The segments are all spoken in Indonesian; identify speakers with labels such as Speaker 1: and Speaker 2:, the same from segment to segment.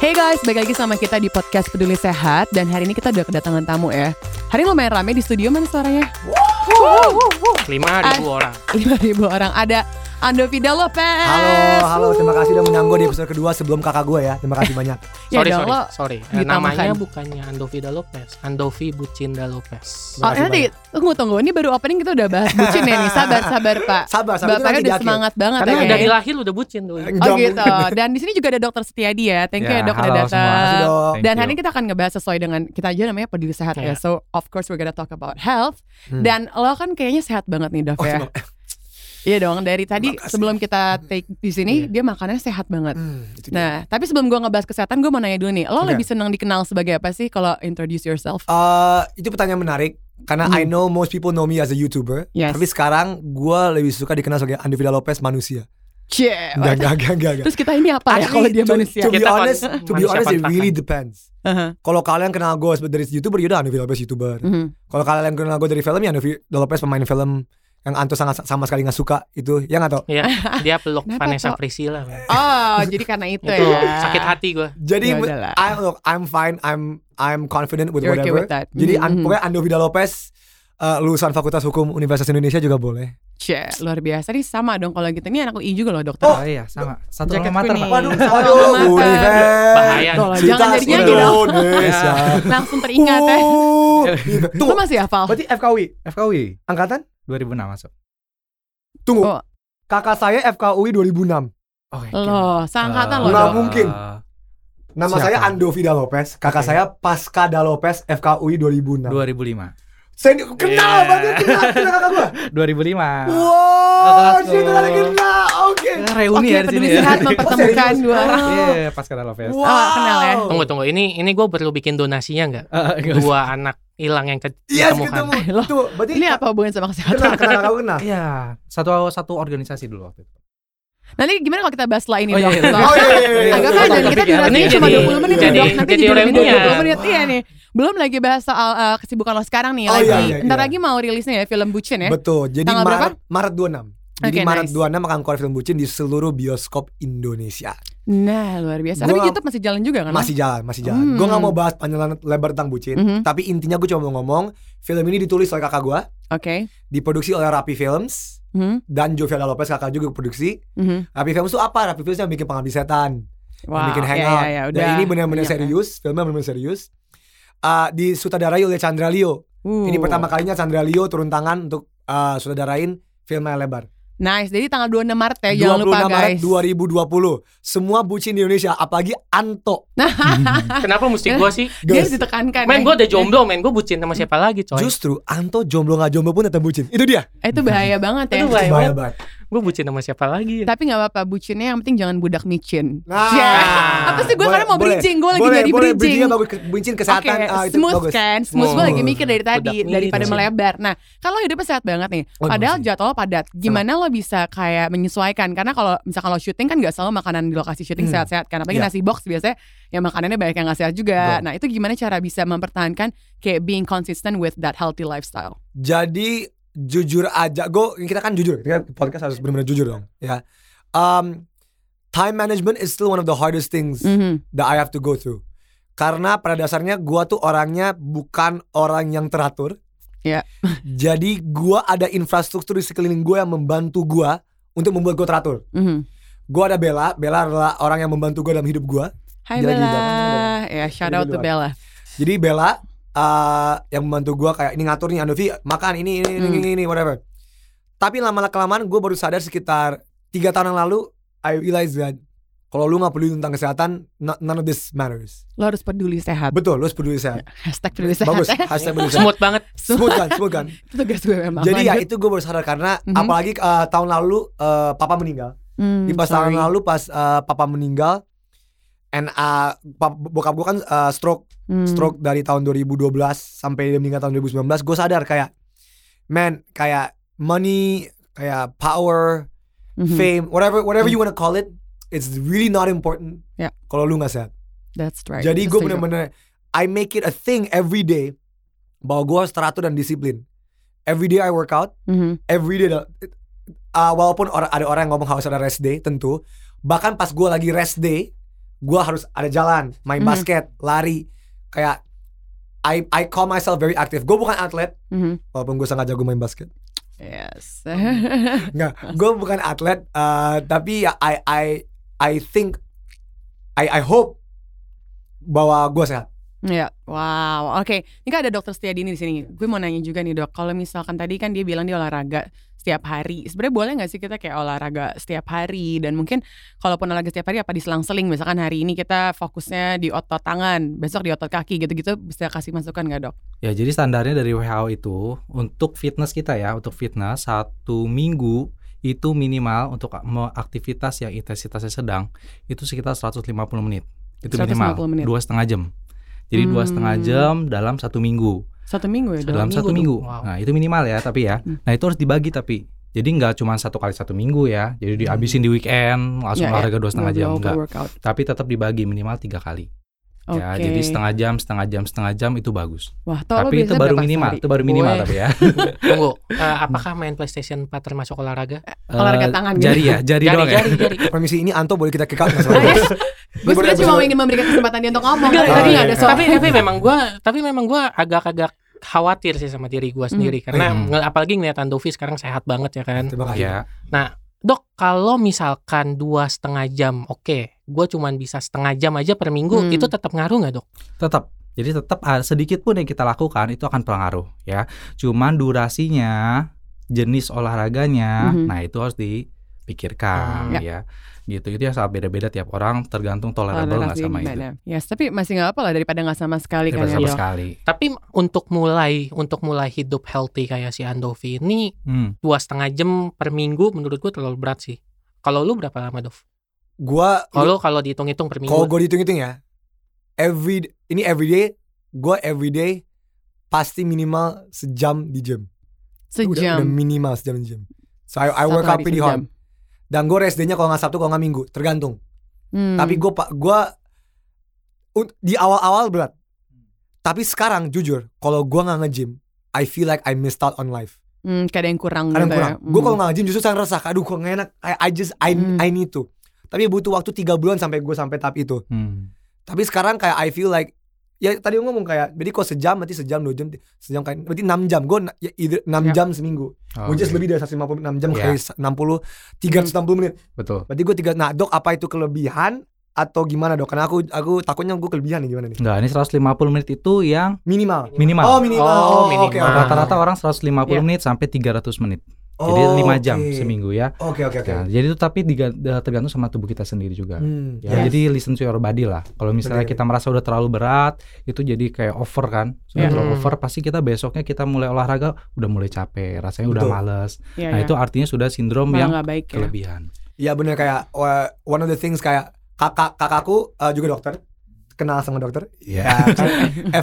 Speaker 1: Hey guys, balik lagi sama kita di podcast Peduli Sehat dan hari ini kita udah kedatangan tamu ya. Hari ini lumayan rame di studio mana suaranya?
Speaker 2: Lima
Speaker 1: Ah,
Speaker 2: ribu Ah, orang.
Speaker 1: iya 5000 orang. Ada Ando Vida Lopez.
Speaker 3: Halo, halo. Terima kasih udah menang gue di episode kedua sebelum kakak gue ya. Terima kasih banyak.
Speaker 1: Ya
Speaker 2: Sorry,
Speaker 1: dong,
Speaker 2: sorry,
Speaker 1: lo
Speaker 2: sorry. Eh,
Speaker 1: ditambahkan.
Speaker 2: namanya bukannya Andovida Lopez, Andovi Bucinda Lopez.
Speaker 1: Oh,
Speaker 3: Terima kasih
Speaker 1: nanti tunggu tunggu ini baru opening kita udah bahas bucin ya nih. Sabar sabar Pak.
Speaker 3: Sabar, sabar,
Speaker 1: Bapaknya
Speaker 3: itu nanti di
Speaker 1: udah
Speaker 3: akhir.
Speaker 1: semangat banget
Speaker 2: Karena
Speaker 1: ya.
Speaker 2: dari lahir udah bucin dulu.
Speaker 1: Oh gitu. Dan di sini juga ada Dokter Setiadi ya. Thank you ya,
Speaker 4: Ya,
Speaker 1: Dok udah
Speaker 4: halo semua.
Speaker 3: Makasih
Speaker 1: datang.
Speaker 3: dong.
Speaker 4: Thank
Speaker 1: Dan
Speaker 4: you.
Speaker 1: hari ini kita akan ngebahas sesuai dengan kita aja namanya peduli sehat ya.
Speaker 2: Iya.
Speaker 1: So of course we're gonna talk about health.
Speaker 3: Hmm.
Speaker 1: Dan lo kan kayaknya sehat banget nih Dov
Speaker 3: Oh,
Speaker 1: ya.
Speaker 3: terima-
Speaker 1: Iya dong. Dari tadi
Speaker 3: Terima kasih.
Speaker 1: sebelum kita take di sini dia makanannya sehat banget.
Speaker 3: Hmm, itu dia.
Speaker 1: Nah, tapi sebelum gua ngebahas kesehatan, gua mau nanya dulu nih, lo
Speaker 3: Oke.
Speaker 1: lebih senang dikenal sebagai apa sih kalau introduce yourself?
Speaker 3: Eh, itu pertanyaan menarik karena
Speaker 1: Hmm.
Speaker 3: I know most people know me as a YouTuber.
Speaker 1: Yes.
Speaker 3: Tapi sekarang gue lebih suka dikenal sebagai Andi Vida Lopez manusia.
Speaker 1: Cie,
Speaker 3: Gak, gak, gak, gak, gak.
Speaker 1: terus kita ini apa ya
Speaker 3: Actually,
Speaker 1: kalau dia
Speaker 3: to-
Speaker 1: manusia?
Speaker 3: To be
Speaker 2: Kita kon-
Speaker 3: honest, to be
Speaker 2: manusia
Speaker 3: honest, it
Speaker 2: kontrakan.
Speaker 3: really depends.
Speaker 1: Aha.
Speaker 3: Kalau kalian kenal gue dari YouTuber, yaudah Andi Vida Lopez YouTuber.
Speaker 1: Mhm.
Speaker 3: Kalau kalian kenal gue dari film, ya Andi Vida Lopez pemain film yang Anto sangat sama sekali nggak suka itu, ya nggak tau.
Speaker 2: Iya, dia peluk
Speaker 1: Kenapa,
Speaker 2: Vanessa
Speaker 1: Cok?
Speaker 2: Priscilla. man.
Speaker 1: Oh, jadi karena itu,
Speaker 2: Itu
Speaker 1: ya.
Speaker 2: sakit hati gue.
Speaker 3: Jadi
Speaker 1: Ya udahlah.
Speaker 3: I look, I'm fine, I'm I'm confident with
Speaker 1: You're okay
Speaker 3: whatever.
Speaker 1: with that.
Speaker 3: Jadi an-
Speaker 1: Mhm.
Speaker 3: pokoknya Ando Vida Lopez eh, lulusan Fakultas Hukum Universitas Indonesia juga boleh.
Speaker 1: Cie, luar biasa nih sama dong kalau gitu. Ini anak UI juga loh, dokter.
Speaker 4: Oh, iya sama. Satu
Speaker 1: Jaketku
Speaker 4: alma mater,
Speaker 1: nih.
Speaker 4: Pak.
Speaker 1: Waduh,
Speaker 3: Waduh,
Speaker 1: Sama makan.
Speaker 3: Univers.
Speaker 2: Bahaya.
Speaker 1: Tolong,
Speaker 3: Universitas
Speaker 1: jangan jadinya gitu. Iya.
Speaker 3: Indonesia.
Speaker 1: Langsung teringat ya.
Speaker 3: Uh, gitu.
Speaker 1: Lo
Speaker 3: Tunggu,
Speaker 1: masih hafal?
Speaker 4: Berarti FKUI, FKUI
Speaker 3: angkatan?
Speaker 4: 2006 masuk.
Speaker 3: Tunggu.
Speaker 1: Oh.
Speaker 3: Kakak saya FKUI 2006.
Speaker 4: Oke.
Speaker 1: Loh, seangkatan lo dong.
Speaker 3: Nggak Nah, mungkin. Nama
Speaker 4: Siapa?
Speaker 3: saya Ando Vida Lopez, kakak
Speaker 4: Oke.
Speaker 3: saya Pasca Da Lopez FKUI 2006.
Speaker 4: 2005.
Speaker 3: Saya kenal
Speaker 2: Yeah.
Speaker 3: banget kenal kenal kakak gua.
Speaker 4: 2005.
Speaker 3: Wow,
Speaker 4: Kakak
Speaker 3: shit,
Speaker 4: gua.
Speaker 3: ada kenal. Oke.
Speaker 4: Reuni
Speaker 1: Oke,
Speaker 4: ya di
Speaker 1: peduli
Speaker 4: sini.
Speaker 1: sehat
Speaker 4: ya.
Speaker 1: mempertemukan dua orang.
Speaker 4: Iya, pas kata Lopez.
Speaker 3: Wow.
Speaker 1: Oh, kenal ya.
Speaker 2: Tunggu, tunggu. Ini ini gue perlu bikin donasinya nggak?
Speaker 4: Eh, enggak usah.
Speaker 2: Dua anak hilang yang ke-
Speaker 1: Iya,
Speaker 3: Yes,
Speaker 2: ditemukan.
Speaker 3: Iya, ketemu.
Speaker 1: kan? Loh,
Speaker 3: Tuh, berarti
Speaker 1: Ini apa hubungan sama
Speaker 3: kenal,
Speaker 1: kesehatan?
Speaker 3: kenal, kenal, kenal.
Speaker 4: Iya, satu satu organisasi dulu waktu itu.
Speaker 1: Nanti gimana kalau kita bahas setelah ini,
Speaker 4: Oh, iya,
Speaker 1: dok?
Speaker 4: iya.
Speaker 1: Tolong.
Speaker 3: Oh iya, iya, iya.
Speaker 1: Agak kan dan kita
Speaker 4: Topik ya,
Speaker 1: durasinya
Speaker 4: ini
Speaker 1: cuma
Speaker 4: jadi-
Speaker 1: 20 menit ya
Speaker 4: jadi-
Speaker 1: dok Nanti
Speaker 2: jadi
Speaker 1: jadi minit
Speaker 2: reunian.
Speaker 1: 20 menit Iya nih Belum lagi bahas soal eh, kesibukan lo sekarang nih
Speaker 3: Oh,
Speaker 1: lagi,
Speaker 3: iya, iya,
Speaker 1: Ntar
Speaker 3: iya.
Speaker 1: lagi mau rilisnya ya film Bucin ya
Speaker 3: Betul. Jadi
Speaker 1: Tanggal berapa?
Speaker 3: Maret, Maret 26. Jadi
Speaker 1: Oke,
Speaker 3: Maret
Speaker 1: nice.
Speaker 3: 26 akan keluar film bucin di seluruh bioskop Indonesia.
Speaker 1: Nah luar biasa Tapi
Speaker 3: Gua-
Speaker 1: Youtube masih jalan juga kan Lo?
Speaker 3: Masih jalan, masih jalan.
Speaker 1: Hmm.
Speaker 3: Gue nggak mau bahas panjang lebar tentang bucin,
Speaker 1: Mhm.
Speaker 3: tapi intinya gue cuma mau ngomong film ini ditulis oleh kakak gue,
Speaker 1: Oke
Speaker 3: diproduksi oleh Rapi Films
Speaker 1: Mhm,
Speaker 3: dan Joviada Lopez kakak juga produksi.
Speaker 1: mhm.
Speaker 3: Rapi Films itu apa? Rapi Films yang bikin pengabdi setan, yang
Speaker 1: Wow,
Speaker 3: bikin
Speaker 1: ya,
Speaker 3: hangout.
Speaker 1: ya, ya,
Speaker 3: dan
Speaker 1: udah.
Speaker 3: ini benar-benar
Speaker 1: Iya, ya.
Speaker 3: serius, filmnya benar-benar serius. Eh, di sutradarai oleh Chandra Leo.
Speaker 1: Uh.
Speaker 3: Ini pertama kalinya Chandra Leo turun tangan untuk eh, sutradarain film yang lebar.
Speaker 1: Nice, jadi tanggal 26 Maret ya, jangan
Speaker 3: 26
Speaker 1: lupa
Speaker 3: Maret
Speaker 1: guys
Speaker 3: 2020 Semua bucin di Indonesia Apalagi Anto
Speaker 2: Kenapa mesti gue sih?
Speaker 1: Dia
Speaker 3: Guys,
Speaker 1: ditekankan
Speaker 2: Men,
Speaker 1: ya.
Speaker 2: gue udah jomblo, men. Gue bucin sama siapa lagi, coy?
Speaker 3: Justru Anto jomblo gak jomblo pun tetap bucin Itu dia
Speaker 1: Eh, Itu bahaya banget ya
Speaker 2: Itu bahaya.
Speaker 3: Bahaya banget
Speaker 2: Gue bucin sama siapa lagi? ya?
Speaker 1: Tapi gak apa-apa, bucinnya yang penting jangan budak micin
Speaker 3: Nah.
Speaker 1: Ya. Apa sih gue
Speaker 3: Boleh,
Speaker 1: karena mau
Speaker 3: boleh.
Speaker 1: bridging, gue lagi
Speaker 3: Boleh,
Speaker 1: nyari
Speaker 3: boleh,
Speaker 1: bridging
Speaker 3: bridgingnya bagus ke- Bucin kesehatan
Speaker 1: Oke,
Speaker 3: ah, itu
Speaker 1: smooth
Speaker 3: bagus.
Speaker 1: kan, smooth gue lagi
Speaker 3: Smooth.
Speaker 1: mikir dari tadi
Speaker 2: Budak
Speaker 1: daripada
Speaker 2: milih.
Speaker 1: melebar. Nah, kalau hidupnya sehat banget nih,
Speaker 3: Oh,
Speaker 1: padahal
Speaker 3: makasih.
Speaker 1: jadwal padat. Gimana lo bisa kayak menyesuaikan? Karena kalau misalkan lo syuting kan nggak selalu makanan di lokasi syuting
Speaker 3: Hmm.
Speaker 1: sehat-sehat. Karena apalagi
Speaker 3: Iya.
Speaker 1: nasi box biasanya yang makanannya banyak yang nggak sehat juga.
Speaker 3: Betul.
Speaker 1: Nah, itu gimana cara bisa mempertahankan kayak being consistent with that healthy lifestyle?
Speaker 3: Jadi Jujur aja Gue Kita kan jujur Kita podcast harus benar-benar jujur dong Ya Um, Time management is still one of the hardest things
Speaker 1: Mhm.
Speaker 3: That I have to go through Karena pada dasarnya Gue tuh orangnya Bukan orang yang teratur
Speaker 1: Iya.
Speaker 3: Jadi gua ada infrastruktur di sekeliling gua yang membantu gua Untuk membuat gua teratur
Speaker 1: Mhm.
Speaker 3: Gua ada Bella Bella adalah orang yang membantu gua dalam hidup gua
Speaker 1: Hai
Speaker 3: Dia lagi
Speaker 1: Bella,
Speaker 3: doang.
Speaker 1: ya shout
Speaker 3: Dia
Speaker 1: out to
Speaker 3: lagi doang.
Speaker 1: Bella.
Speaker 3: Jadi Bella eh, Yang membantu gua kayak Ini ngatur nih Andovi Makan ini ini, ini,
Speaker 1: Hmm.
Speaker 3: ini, ini, Whatever Tapi lama-lama kelamaan Gue baru sadar sekitar tiga tahun yang lalu I realize that Kalau lu gak peduli tentang kesehatan no- None of this matters
Speaker 1: Lo harus peduli sehat.
Speaker 3: Betul lu harus peduli sehat
Speaker 1: Hashtag peduli sehat.
Speaker 3: Bagus Hashtag peduli sehat
Speaker 2: Smooth banget.
Speaker 3: Smooth kan Smooth kan
Speaker 1: itu tugas gue memang.
Speaker 3: Jadi ya
Speaker 1: Lanjut.
Speaker 3: itu gue baru sadar karena
Speaker 1: Mhm.
Speaker 3: apalagi eh, tahun lalu eh, papa meninggal.
Speaker 1: Hmm,
Speaker 3: Di pas
Speaker 1: sorry.
Speaker 3: tahun lalu pas eh, papa meninggal and eh, pap- bokap gue kan eh, stroke
Speaker 1: Hmm.
Speaker 3: stroke dari tahun 2012 sampai dia meninggal tahun 2019 gue sadar kayak man kayak money kayak power
Speaker 1: Mhm.
Speaker 3: fame whatever whatever you wanna call it it's really not important
Speaker 1: Ya.
Speaker 3: kalau lu nggak sehat
Speaker 1: That's right.
Speaker 3: jadi gue
Speaker 1: Setuju.
Speaker 3: bener-bener I make it a thing every day bahwa gue harus teratur dan disiplin every day I work out
Speaker 1: Mhm.
Speaker 3: every day dah- uh, walaupun or- ada orang yang ngomong harus ada rest day tentu bahkan pas gue lagi rest day gua harus ada jalan main
Speaker 1: Mhm.
Speaker 3: basket lari kayak I I call myself very active gue bukan atlet
Speaker 1: Mhm.
Speaker 3: walaupun gue sangat jago main basket
Speaker 1: Yes.
Speaker 3: nggak gue bukan atlet eh, tapi ya I I I think I I hope bahwa gue sehat
Speaker 1: Ya, wow. Oke, ini kan ada dokter Setiadini di sini. Gue mau nanya juga nih dok, kalau misalkan tadi kan dia bilang dia olahraga setiap hari. Sebenarnya boleh nggak sih kita kayak olahraga setiap hari? Dan mungkin kalaupun olahraga setiap hari apa diselang-seling? Misalkan hari ini kita fokusnya di otot tangan, besok di otot kaki gitu-gitu bisa kasih masukan nggak dok?
Speaker 4: Ya jadi standarnya dari WHO itu untuk fitness kita ya, untuk fitness satu minggu itu minimal untuk me- aktivitas yang intensitasnya sedang itu sekitar 150 menit.
Speaker 1: 150
Speaker 4: Itu
Speaker 1: menit.
Speaker 4: minimal dua setengah jam. Jadi dua setengah
Speaker 1: Hmm.
Speaker 4: jam dalam satu minggu,
Speaker 1: Satu minggu ya dok?
Speaker 4: dalam
Speaker 2: minggu
Speaker 4: satu
Speaker 2: tuh.
Speaker 4: minggu.
Speaker 2: Wow.
Speaker 4: Nah itu minimal ya tapi ya.
Speaker 1: Hmm.
Speaker 4: Nah itu harus dibagi tapi. Jadi nggak cuma satu kali satu minggu ya. Jadi dihabisin di weekend langsung
Speaker 1: Hmm. Ya, ya.
Speaker 4: olahraga dua setengah
Speaker 1: Nggak
Speaker 4: jam
Speaker 1: boleh
Speaker 4: enggak.
Speaker 1: overworkout.
Speaker 4: Tapi tetap dibagi minimal tiga kali.
Speaker 1: Oke.
Speaker 4: Ya jadi setengah jam, setengah jam, setengah jam itu bagus.
Speaker 1: Wah, toh lo
Speaker 4: tapi itu
Speaker 1: biasanya
Speaker 4: baru
Speaker 1: berapa
Speaker 4: minimal,
Speaker 1: sehari?
Speaker 4: itu baru minimal
Speaker 2: Gue-
Speaker 4: tapi ya.
Speaker 2: Tunggu, eh, apakah main PlayStation 4 termasuk olahraga?
Speaker 1: Olahraga
Speaker 4: Eh,
Speaker 1: tangan gitu.
Speaker 4: jari ya jari, doang ya
Speaker 2: jari, jari.
Speaker 3: permisi ini Anto boleh kita kick out
Speaker 1: Ah,
Speaker 3: nggak
Speaker 1: ya?
Speaker 3: soalnya?
Speaker 1: Gue
Speaker 3: Ini boleh
Speaker 1: sebenarnya cuma
Speaker 3: episode-
Speaker 1: ingin memberikan kesempatan dia untuk ngomong.
Speaker 2: Enggak,
Speaker 1: Tadi
Speaker 3: iya,
Speaker 1: nggak ada
Speaker 3: iya.
Speaker 1: soal.
Speaker 2: tapi tapi memang gua tapi memang gua agak-agak khawatir sih sama diri gua sendiri karena
Speaker 4: Hmm.
Speaker 2: ngel- apalagi ngeliat Andovi sekarang sehat banget ya kan
Speaker 3: terima kasih
Speaker 4: ya
Speaker 2: dok kalau misalkan dua setengah jam oke gua cuman bisa setengah jam aja per minggu
Speaker 1: Hmm.
Speaker 2: itu tetap ngaruh nggak dok
Speaker 4: tetap jadi tetap ah, sedikit pun yang kita lakukan itu akan pengaruh ya cuman durasinya jenis olahraganya
Speaker 1: Mhm.
Speaker 4: nah itu harus dipikirkan
Speaker 1: Ah,
Speaker 4: ya gitu itu ya sangat beda-beda tiap orang tergantung tolerable nggak
Speaker 1: Toleransi
Speaker 4: sama itu
Speaker 1: gimana. Yes, tapi masih nggak apa lah daripada nggak sama sekali kan
Speaker 4: Daripada
Speaker 1: ya
Speaker 4: sama
Speaker 1: dok.
Speaker 4: sekali
Speaker 2: tapi untuk mulai untuk mulai hidup healthy kayak si Andovi ini
Speaker 4: Hmm.
Speaker 2: dua setengah jam per minggu menurut gua terlalu berat sih kalau lu berapa lama dov
Speaker 3: gue
Speaker 2: kalau kalau dihitung-hitung per
Speaker 3: kalau
Speaker 2: minggu
Speaker 3: gue dihitung-hitung ya every ini everyday gue everyday pasti minimal sejam di gym Udah, udah
Speaker 1: Sejam.
Speaker 3: minimal sejam di gym so I,
Speaker 1: Satu
Speaker 3: I work out
Speaker 1: hari
Speaker 3: pretty
Speaker 1: sejam.
Speaker 3: hard dan gue rest day-nya kalau nggak Sabtu kalau nggak Minggu tergantung
Speaker 1: Hmm.
Speaker 3: tapi gue gue di awal-awal berat tapi sekarang jujur kalau gue nggak nge-gym I feel like I missed out on life
Speaker 1: Hmm, kayak ada yang kurang
Speaker 3: kadang
Speaker 1: gitu
Speaker 3: kurang
Speaker 1: ya.
Speaker 3: gue kalau nggak nge-gym justru saya resah aduh kok nggak enak I, I just I,
Speaker 1: Hmm.
Speaker 3: I need to tapi butuh waktu tiga bulan sampai gue sampai tahap itu
Speaker 4: Hmm.
Speaker 3: tapi sekarang kayak I feel like ya tadi gua ngomong kayak jadi kok sejam berarti sejam dua jam sejam kayak berarti enam jam gue ya, either enam
Speaker 2: Ya.
Speaker 3: jam seminggu gue just
Speaker 4: Oke,
Speaker 3: lebih dari 150 enam jam
Speaker 4: Ya.
Speaker 3: kali enam puluh tiga ratus enam puluh menit
Speaker 4: betul
Speaker 3: berarti gue tiga nah dok apa itu kelebihan atau gimana dok karena aku aku takutnya gue kelebihan nih gimana nih
Speaker 4: Enggak, ini 150 menit itu yang
Speaker 3: minimal
Speaker 4: minimal.
Speaker 3: oh minimal
Speaker 2: Oh,
Speaker 3: oh,
Speaker 2: minimal.
Speaker 3: oke oke.
Speaker 4: Rata-rata orang
Speaker 1: Ya.
Speaker 4: 150
Speaker 2: Iya.
Speaker 4: menit sampai 300 menit.
Speaker 3: Oh,
Speaker 4: Jadi 5 jam
Speaker 3: oke.
Speaker 4: seminggu ya.
Speaker 3: oke oke oke
Speaker 4: Ya, jadi itu tapi diga- tergantung sama tubuh kita sendiri juga.
Speaker 3: Hmm,
Speaker 4: Ya,
Speaker 2: Yes.
Speaker 4: Jadi listen to your body lah. Kalau misalnya
Speaker 3: Bener.
Speaker 4: kita merasa udah terlalu berat, itu jadi kayak over kan. Sudah
Speaker 1: Iya.
Speaker 4: terlalu
Speaker 2: Hmm.
Speaker 4: over, pasti kita besoknya kita mulai olahraga udah mulai capek, rasanya udah
Speaker 3: Betul.
Speaker 4: males. Nah itu artinya sudah sindrom
Speaker 1: malah
Speaker 4: yang
Speaker 1: nggak baik ya.
Speaker 4: kelebihan.
Speaker 3: Iya bener kayak uh, one of the things kayak kakak kakakku uh, juga dokter kenal sama dokter
Speaker 4: Iya.
Speaker 3: ya, kan?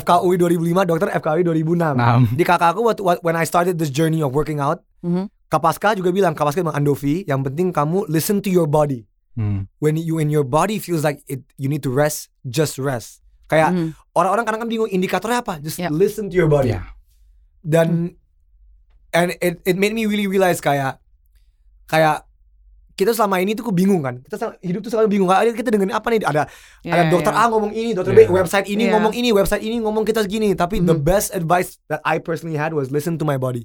Speaker 3: FKUI 2005 dokter FKUI 2006
Speaker 4: Nah,
Speaker 3: di kakakku waktu wa- when I started this journey of working out
Speaker 1: Mhm.
Speaker 3: Kapaska juga bilang Kapaska bilang Andovi yang penting kamu listen to your body
Speaker 4: hmm,
Speaker 3: when you in your body feels like it you need to rest just rest kayak
Speaker 1: Mhm.
Speaker 3: orang-orang kadang kan bingung indikatornya apa just
Speaker 1: Yep.
Speaker 3: listen to your body
Speaker 4: ya.
Speaker 3: dan
Speaker 1: Hmm.
Speaker 3: and it it made me really realize kayak kayak kita selama ini tuh bingung kan kita sel- hidup tuh selalu bingung kayak kita dengerin apa nih ada
Speaker 1: Ya,
Speaker 3: ada dokter
Speaker 1: ya.
Speaker 3: A ngomong ini, dokter B
Speaker 4: Yeah.
Speaker 3: website ini
Speaker 1: Yeah.
Speaker 3: ngomong ini, website ini ngomong kita segini. Tapi the
Speaker 1: Mhm.
Speaker 3: best advice that I personally had was listen to my body.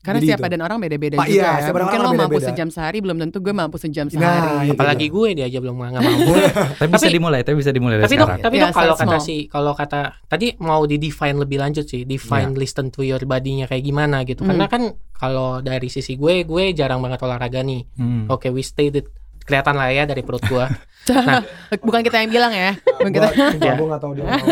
Speaker 1: Karena
Speaker 3: Jadi
Speaker 1: setiap
Speaker 3: itu.
Speaker 1: badan orang beda-beda
Speaker 3: Pak,
Speaker 1: juga
Speaker 3: iya,
Speaker 1: ya.
Speaker 3: setiap badan
Speaker 1: Mungkin
Speaker 3: orang
Speaker 1: lo mampu
Speaker 3: beda-beda.
Speaker 1: sejam sehari belum tentu gue mampu sejam
Speaker 3: Nah,
Speaker 1: sehari.
Speaker 3: iya.
Speaker 2: apalagi gue dia aja belum nggak mau
Speaker 4: Tapi bisa
Speaker 2: Tapi-
Speaker 4: dimulai, tapi bisa dimulai dari
Speaker 2: tapi dok
Speaker 4: sekarang.
Speaker 2: tapi
Speaker 1: Ya,
Speaker 2: dok kalau
Speaker 1: start
Speaker 2: kata
Speaker 1: small.
Speaker 2: si kalau kata tadi mau di define lebih lanjut sih define
Speaker 4: Iya.
Speaker 2: listen to your body-nya kayak gimana gitu
Speaker 1: Hmm.
Speaker 2: karena kan kalau dari sisi gue gue jarang banget olahraga nih
Speaker 4: Hmm.
Speaker 2: oke we stated kelihatan lah ya dari perut gue
Speaker 1: Bukan kita yang bilang ya. Bukan kita.
Speaker 2: Ya.
Speaker 3: Gue gak tau dia ngomong.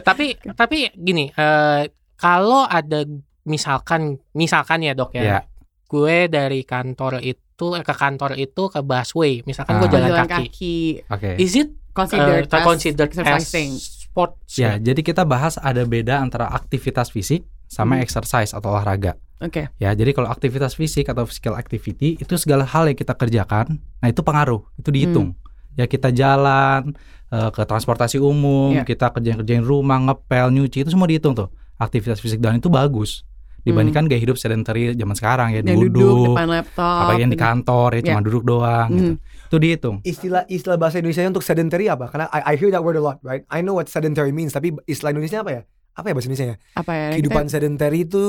Speaker 2: tapi tapi gini eh, kalau ada misalkan misalkan ya dok ya
Speaker 4: Ya.
Speaker 2: gue dari kantor itu eh, ke kantor itu ke busway misalkan gue
Speaker 4: Ah.
Speaker 2: jalan,
Speaker 1: Jalan
Speaker 2: kaki.
Speaker 1: kaki.
Speaker 4: Oke.
Speaker 2: is it
Speaker 1: Consider
Speaker 2: eh, considered as
Speaker 1: exercising.
Speaker 2: sport
Speaker 4: Ya, jadi kita bahas ada beda antara aktivitas fisik sama
Speaker 2: Hmm.
Speaker 4: exercise atau olahraga.
Speaker 1: Oke.
Speaker 4: Ya, jadi kalau aktivitas fisik atau physical activity itu segala hal yang kita kerjakan, nah itu pengaruh, itu dihitung.
Speaker 1: Hmm.
Speaker 4: Ya kita jalan eh, ke transportasi umum,
Speaker 1: Iya.
Speaker 4: kita kerjain-kerjain rumah, ngepel, nyuci itu semua dihitung tuh. Aktivitas fisik dan itu bagus. dibandingkan gaya hidup sedentary zaman sekarang ya
Speaker 1: yang Hmm.
Speaker 4: duduk,
Speaker 1: duduk depan laptop Hmm.
Speaker 4: apalagi yang di
Speaker 1: gitu.
Speaker 4: kantor ya cuma duduk doang gitu. Itu dihitung.
Speaker 3: Istilah istilah bahasa Indonesia untuk sedentary apa? Karena I, I hear that word a lot, right? I know what sedentary means, tapi istilah Indonesia apa ya? Apa ya bahasa Indonesia ya?
Speaker 1: apa ya kita
Speaker 3: Kehidupan sedentary itu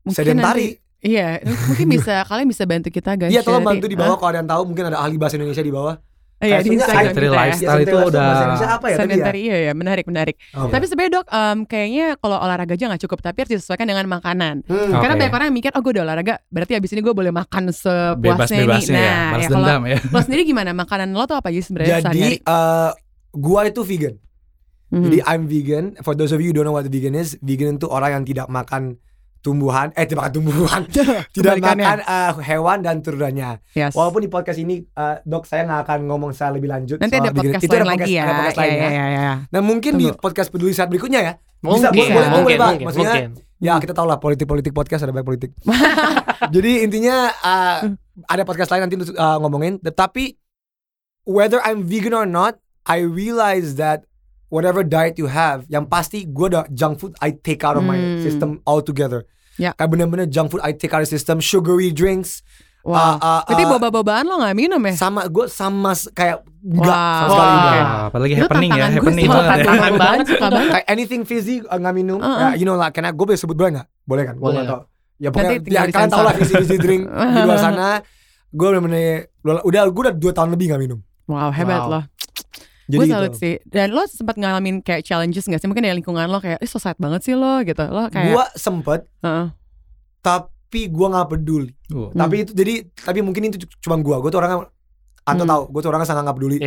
Speaker 1: mungkin
Speaker 3: sedentary.
Speaker 1: nanti- iya mungkin bisa kalian bisa bantu kita guys
Speaker 3: Iya tolong
Speaker 1: Nanti-
Speaker 3: bantu di bawah kalau ada yang tahu mungkin ada ahli bahasa Indonesia di bawah.
Speaker 1: Ah, iya, di
Speaker 3: Kayaknya
Speaker 1: Instagram kita
Speaker 4: sedentary
Speaker 1: ya.
Speaker 4: lifestyle. Style itu
Speaker 3: Sedentary
Speaker 4: udah-
Speaker 3: bahasa Indonesia apa ya tadi ya?
Speaker 1: sedentary iya ya menarik menarik
Speaker 3: Oh.
Speaker 1: tapi sebenarnya dok em, kayaknya kalau olahraga aja nggak cukup tapi harus disesuaikan dengan makanan
Speaker 3: Hmm.
Speaker 4: Oke.
Speaker 1: Karena banyak orang yang mikir, oh gue udah olahraga, berarti abis ini gue boleh makan sepuasnya nih.
Speaker 4: Bebas-bebasnya ya,
Speaker 1: Eh, Nah,
Speaker 4: balas
Speaker 1: ya, kalau
Speaker 4: dendam ya.
Speaker 1: lo sendiri gimana? Makanan lo tuh apa aja sebenarnya sehari-hari?
Speaker 3: Jadi eh, gua itu vegan.
Speaker 1: Mhm.
Speaker 3: Jadi I'm vegan. For those of you who don't know what vegan is, vegan itu orang yang tidak makan tumbuhan, eh tidak makan tumbuhan, tidak
Speaker 1: Kebalikannya.
Speaker 3: makan eh, hewan dan turunannya.
Speaker 1: Yes.
Speaker 3: Walaupun di podcast ini eh, dok saya nggak akan ngomong secara lebih lanjut.
Speaker 1: Nanti ada
Speaker 3: soal vegan.
Speaker 1: podcast
Speaker 3: Itu
Speaker 1: lain
Speaker 3: ada
Speaker 1: lagi
Speaker 3: podcast-
Speaker 1: ya.
Speaker 3: ada podcast lain
Speaker 1: ya,
Speaker 3: ya.
Speaker 1: ya, ya.
Speaker 3: Nah mungkin di
Speaker 1: Tunggu.
Speaker 3: podcast peduli saat berikutnya ya. boleh,
Speaker 2: Mungkin,
Speaker 3: boleh,
Speaker 2: mungkin,
Speaker 3: boleh, Bang.
Speaker 2: mungkin,
Speaker 3: Maksudnya-
Speaker 2: mungkin.
Speaker 3: Ya kita tahu lah politik-politik podcast ada banyak politik. Jadi intinya eh, ada podcast lain nanti untuk eh, ngomongin. Tapi whether I'm vegan or not, I realize that whatever diet you have, yang pasti gue ada junk food I take out of my
Speaker 1: Hmm.
Speaker 3: system altogether.
Speaker 1: Ya.
Speaker 3: Kayak bener-bener junk food I take out of system, sugary drinks.
Speaker 1: Wah.
Speaker 3: eh, eh,
Speaker 1: Berarti
Speaker 3: eh,
Speaker 1: boba-bobaan lo gak minum ya?
Speaker 3: sama gue sama s- kayak enggak sama
Speaker 1: Wow.
Speaker 3: sekali enggak.
Speaker 1: Oke.
Speaker 4: Wah, apalagi
Speaker 3: Iya,
Speaker 1: Itu
Speaker 4: happening ya,
Speaker 1: tantangan gue
Speaker 4: happening
Speaker 1: sih
Speaker 4: banget
Speaker 1: makan
Speaker 4: ya.
Speaker 1: boba-bobaan suka banget.
Speaker 3: kayak anything fizzy eh, nggak minum
Speaker 1: Heeh.
Speaker 3: Ya, you know lah karena gue boleh sebut brand nggak boleh kan gue
Speaker 2: Boleh
Speaker 3: nggak
Speaker 2: lah.
Speaker 3: tahu ya pokoknya
Speaker 1: Nanti
Speaker 3: ya,
Speaker 1: tinggal
Speaker 3: kalian
Speaker 1: disensor.
Speaker 3: tahu lah fizzy fizzy drink di luar sana gue bener-bener udah gue udah dua tahun lebih nggak minum
Speaker 1: Wow, hebat
Speaker 2: Wow.
Speaker 1: lo.
Speaker 3: jadi gitu.
Speaker 1: Gue
Speaker 3: itu.
Speaker 1: salut sih. Dan lo sempat ngalamin kayak challenges gak sih? Mungkin dari lingkungan lo kayak, ih so sad banget sih lo gitu. Lo kayak,
Speaker 3: gue sempet
Speaker 1: Heeh.
Speaker 3: tapi gue nggak peduli
Speaker 4: Wah.
Speaker 1: Hmm.
Speaker 3: tapi itu jadi tapi mungkin itu c- cuma gue gue tuh orangnya atau
Speaker 1: Hmm.
Speaker 3: tahu gue tuh orangnya sangat nggak peduli
Speaker 2: Yoi.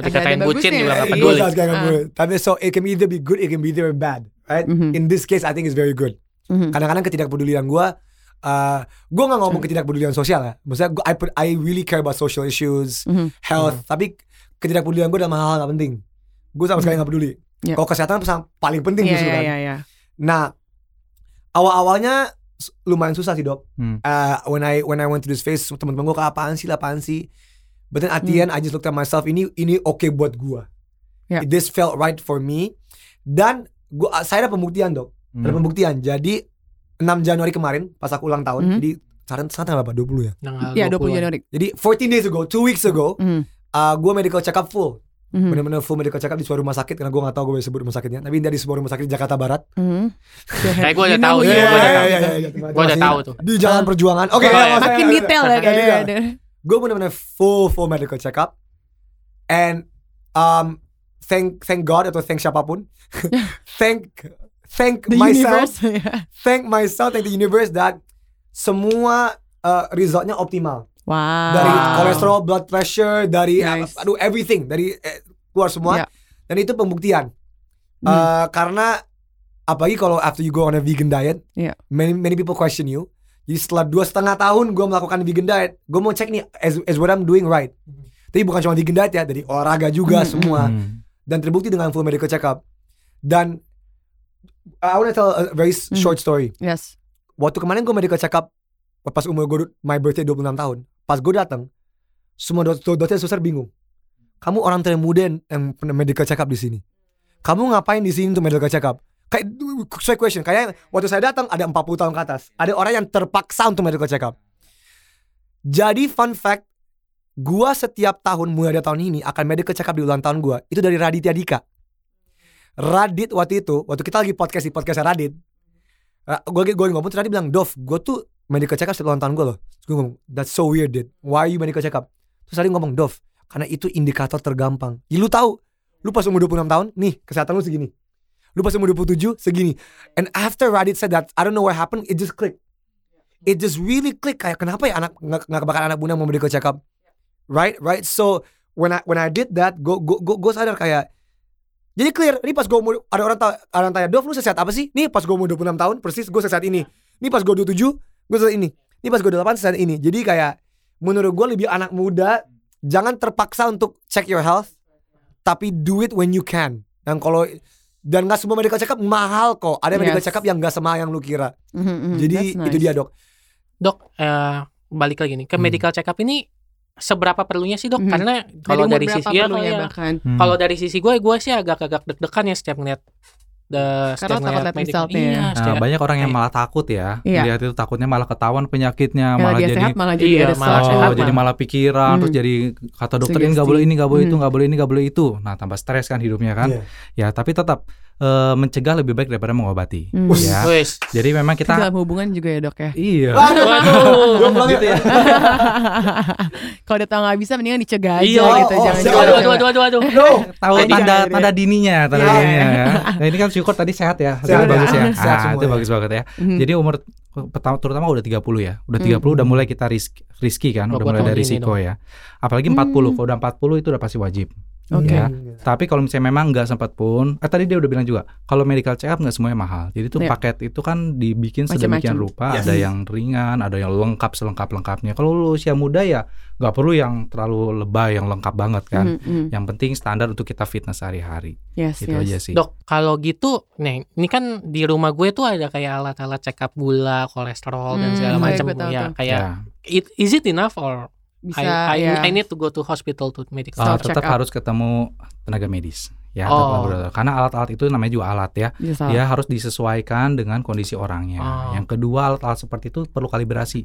Speaker 1: Ada- ada
Speaker 2: dikatain bucin
Speaker 1: bagusnya ya.
Speaker 2: juga gak
Speaker 1: Iya,
Speaker 2: Iya, peduli.
Speaker 3: Gua sangat nggak
Speaker 1: Ah.
Speaker 3: peduli. tapi so it can either be good it can be either bad right
Speaker 1: Mhm.
Speaker 3: in this case I think it's very good
Speaker 1: Mhm.
Speaker 3: kadang-kadang ketidakpedulian gue eh gue nggak
Speaker 1: Hmm.
Speaker 3: ngomong ketidakpedulian sosial ya maksudnya gua, I, put- I really care about social issues
Speaker 1: Mhm.
Speaker 3: health tapi ketidakpedulian gue dalam hal-hal gak penting gue sama sekali nggak peduli
Speaker 1: Iya.
Speaker 3: kalau kesehatan pesan- paling penting
Speaker 1: Iya,
Speaker 3: justru
Speaker 1: iya,
Speaker 3: kan
Speaker 1: iya, iya.
Speaker 3: nah awal-awalnya s- lumayan susah sih dok
Speaker 4: Hmm.
Speaker 3: Eh, when I when I went to this phase temen-temen gue apaan sih lah apaan sih but then at the
Speaker 1: Hmm.
Speaker 3: end I just looked at myself ini ini oke buat gue
Speaker 1: Iya.
Speaker 3: this felt right for me dan gua saya ada pembuktian dok ada
Speaker 4: Hmm.
Speaker 3: pembuktian. Jadi 6 Januari kemarin pas aku ulang tahun,
Speaker 1: Mhm.
Speaker 3: jadi sekarang sekarang tanggal berapa? 20 ya.
Speaker 2: Tanggal
Speaker 1: Iya, 20
Speaker 2: 20-an.
Speaker 1: Januari.
Speaker 3: Jadi 14 days ago, 2 weeks ago,
Speaker 1: Mhm.
Speaker 3: uh, gue medical check up full.
Speaker 1: Mhm.
Speaker 3: Bener-bener full medical check up di sebuah rumah sakit karena gue gak tahu gue bisa sebut rumah sakitnya. Tapi dia di sebuah rumah sakit di Jakarta Barat.
Speaker 1: Mhm.
Speaker 2: Kayak gue udah tahu
Speaker 1: Iya,
Speaker 2: sih, gue udah
Speaker 1: iya,
Speaker 2: tahu.
Speaker 1: iya.
Speaker 2: Gue udah tahu tuh.
Speaker 3: Di Jalan
Speaker 1: Ah.
Speaker 3: Perjuangan. Oke,
Speaker 2: Oh, iya.
Speaker 1: Makin detail ya kayaknya.
Speaker 3: Gue bener-bener full full medical check up. And um, thank thank God atau thank siapapun. thank thank
Speaker 1: The
Speaker 3: myself.
Speaker 1: universe. ya.
Speaker 3: Thank myself, thank the universe that semua uh, resultnya optimal.
Speaker 1: Wow.
Speaker 3: dari kolesterol, blood pressure, dari
Speaker 1: Ah.
Speaker 3: uh,
Speaker 1: Nice.
Speaker 3: aduh everything dari eh, keluar semua.
Speaker 1: Ya.
Speaker 3: Dan itu pembuktian.
Speaker 1: Hmm.
Speaker 3: Eh, karena apalagi kalau after you go on a vegan diet,
Speaker 1: Ya.
Speaker 3: many many people question you. Jadi setelah dua setengah tahun gue melakukan vegan diet, gue mau cek nih is, is what I'm doing right. Tapi bukan cuma vegan diet ya, dari olahraga juga
Speaker 1: Hmm,
Speaker 3: semua
Speaker 4: Hmm.
Speaker 3: dan terbukti dengan full medical check up. Dan I wanna tell a very s-
Speaker 1: Hmm.
Speaker 3: short story.
Speaker 1: Yes.
Speaker 3: Waktu kemarin gue medical check up pas umur gue my birthday 26 tahun. Pas gue datang, semua dok dokter susah bingung. Kamu orang termuda yang- yang pernah medical check up di sini. Kamu ngapain di sini untuk medical check up? Kayak saya question, kayak waktu saya datang ada 40 tahun ke atas. Ada orang yang terpaksa untuk medical check up. Jadi fun fact, gua setiap tahun mulai dari tahun ini akan medical check up di ulang tahun gua. Itu dari Raditya Dika. Radit waktu itu, waktu kita lagi podcast di podcastnya Radit, Ra- gue gue ngomong terus tadi bilang Dov gue tuh medical check up setiap ulang tahun gue loh terus gue ngomong that's so weird dude why are you medical check up terus tadi ngomong Dov karena itu indikator tergampang ya, lu tahu lu pas umur 26 tahun nih kesehatan lu segini lu pas umur 27 segini and after Radit said that I don't know what happened it just clicked it just really clicked kayak kenapa ya anak nggak nggak bakal anak bunda mau medical check up right right so when I when I did that gue gue gue gue sadar kayak jadi clear, ini pas gue umur, ada orang, ta- ada orang tanya, Dov lu sehat apa sih? Nih pas gue umur 26 tahun, persis gue sehat ini. Nih pas gue 27, gue sehat ini. Nih pas gue 28, sehat ini. Jadi kayak, menurut gue lebih anak muda, jangan terpaksa untuk check your health, tapi do it when you can. Dan kalau, dan gak semua medical check up mahal kok. Ada medical
Speaker 1: Yes.
Speaker 3: check up yang gak semahal yang lu kira.
Speaker 1: Mhm, mhm.
Speaker 3: Jadi
Speaker 1: That's
Speaker 3: itu
Speaker 1: nice.
Speaker 3: dia dok.
Speaker 2: Dok, eh, balik lagi nih ke
Speaker 3: Hmm.
Speaker 2: medical check up ini seberapa perlunya sih
Speaker 1: Mhm.
Speaker 2: dok? Karena
Speaker 1: Dari
Speaker 2: kalau
Speaker 1: umur
Speaker 2: dari
Speaker 1: berapa
Speaker 2: sisi ya,
Speaker 1: perlunya
Speaker 2: kalau ya.
Speaker 1: bahkan.
Speaker 4: Hmm.
Speaker 2: Kalau dari sisi gue, gue sih agak agak deg-degan ya setiap ngeliat the
Speaker 1: Karena takut lihat resultnya ya.
Speaker 2: Iya,
Speaker 4: Nah,
Speaker 2: setiap-
Speaker 4: banyak orang yang malah takut ya.
Speaker 1: Iya.
Speaker 4: Lihat itu takutnya malah ketahuan penyakitnya,
Speaker 1: Kalau
Speaker 4: malah
Speaker 1: dia
Speaker 4: jadi
Speaker 1: sehat malah jadi
Speaker 2: Iya,
Speaker 1: ada
Speaker 2: malah
Speaker 1: sesuatu.
Speaker 2: sehat
Speaker 4: Oh, jadi malah pikiran terus
Speaker 1: Hmm.
Speaker 4: jadi kata dokter ini nggak
Speaker 1: Sugesti.
Speaker 4: boleh ini nggak boleh itu
Speaker 1: Hmm.
Speaker 4: nggak boleh ini nggak boleh itu. Nah, tambah stres kan hidupnya kan.
Speaker 3: Iya.
Speaker 4: Ya, tapi tetap eh, mencegah lebih baik daripada mengobati.
Speaker 1: Hmm.
Speaker 3: Us.
Speaker 4: Ya.
Speaker 2: Wes.
Speaker 4: Jadi memang
Speaker 1: Itu
Speaker 4: kita
Speaker 1: dalam hubungan juga ya dok ya
Speaker 4: iya.
Speaker 2: Waduh.
Speaker 3: Gua pulang ya.
Speaker 1: kalau udah tau nggak bisa mendingan dicegah aja
Speaker 2: Iya,
Speaker 1: gitu
Speaker 3: oh, oh,
Speaker 1: jangan
Speaker 3: siap.
Speaker 1: jangan-
Speaker 2: Waduh, waduh, waduh, waduh.
Speaker 3: No.
Speaker 4: Tahu
Speaker 1: Tadi
Speaker 4: tanda
Speaker 1: kan,
Speaker 4: tanda dininya, tanda
Speaker 3: Iya.
Speaker 4: dininya ya. Nah, ini kan syukur tadi sehat ya.
Speaker 3: Sehat.
Speaker 4: Sehat bagus ya.
Speaker 3: Sehat
Speaker 4: Ah,
Speaker 3: semua
Speaker 4: itu
Speaker 3: ya.
Speaker 4: bagus banget ya.
Speaker 1: Hmm.
Speaker 4: Jadi umur pertama terutama udah 30 ya. Udah
Speaker 1: Hmm. Oh,
Speaker 4: 30 udah mulai kita risk riski kan,
Speaker 2: Wah,
Speaker 4: udah
Speaker 2: gua
Speaker 4: mulai
Speaker 2: tahu
Speaker 4: dari
Speaker 2: ini
Speaker 4: risiko
Speaker 2: dong.
Speaker 4: ya. Apalagi
Speaker 1: Hmm.
Speaker 4: 40, kalau udah 40 itu udah pasti wajib.
Speaker 1: Oke.
Speaker 4: Ya.
Speaker 3: Hmm.
Speaker 4: Tapi kalau misalnya memang nggak sempat pun, eh tadi dia udah bilang juga, kalau medical check up nggak semuanya mahal. Jadi tuh
Speaker 1: Iya.
Speaker 4: paket itu kan dibikin sedemikian
Speaker 1: Macam-macam.
Speaker 4: rupa,
Speaker 3: Yes.
Speaker 4: ada yang ringan, ada yang lengkap selengkap lengkapnya. Kalau lu usia muda ya nggak perlu yang terlalu lebay, yang lengkap banget kan.
Speaker 1: Hmm, hmm.
Speaker 4: Yang penting standar untuk kita fitness sehari-hari.
Speaker 1: yes
Speaker 4: Gitu
Speaker 1: yes
Speaker 4: aja sih.
Speaker 2: Dok, kalau gitu, nih, ini kan di rumah gue tuh ada kayak alat-alat check up gula, kolesterol dan
Speaker 1: Hmm,
Speaker 2: segala
Speaker 1: iya,
Speaker 2: macam
Speaker 1: gue tahu
Speaker 2: ya.
Speaker 1: tuh.
Speaker 2: Kayak
Speaker 4: Ya.
Speaker 2: it, is it enough or
Speaker 1: bisa
Speaker 2: I, I,
Speaker 1: ya
Speaker 2: I need to go to hospital to medical?
Speaker 1: Stop
Speaker 4: Uh,
Speaker 1: check
Speaker 4: tetap
Speaker 1: up.
Speaker 4: harus ketemu tenaga medis ya
Speaker 2: Oh.
Speaker 4: tetap laboratorium. karena alat-alat itu namanya juga alat ya
Speaker 1: bisa salah.
Speaker 4: dia harus disesuaikan dengan kondisi
Speaker 1: Ah.
Speaker 4: orangnya
Speaker 2: Oh.
Speaker 4: yang kedua alat-alat seperti itu perlu kalibrasi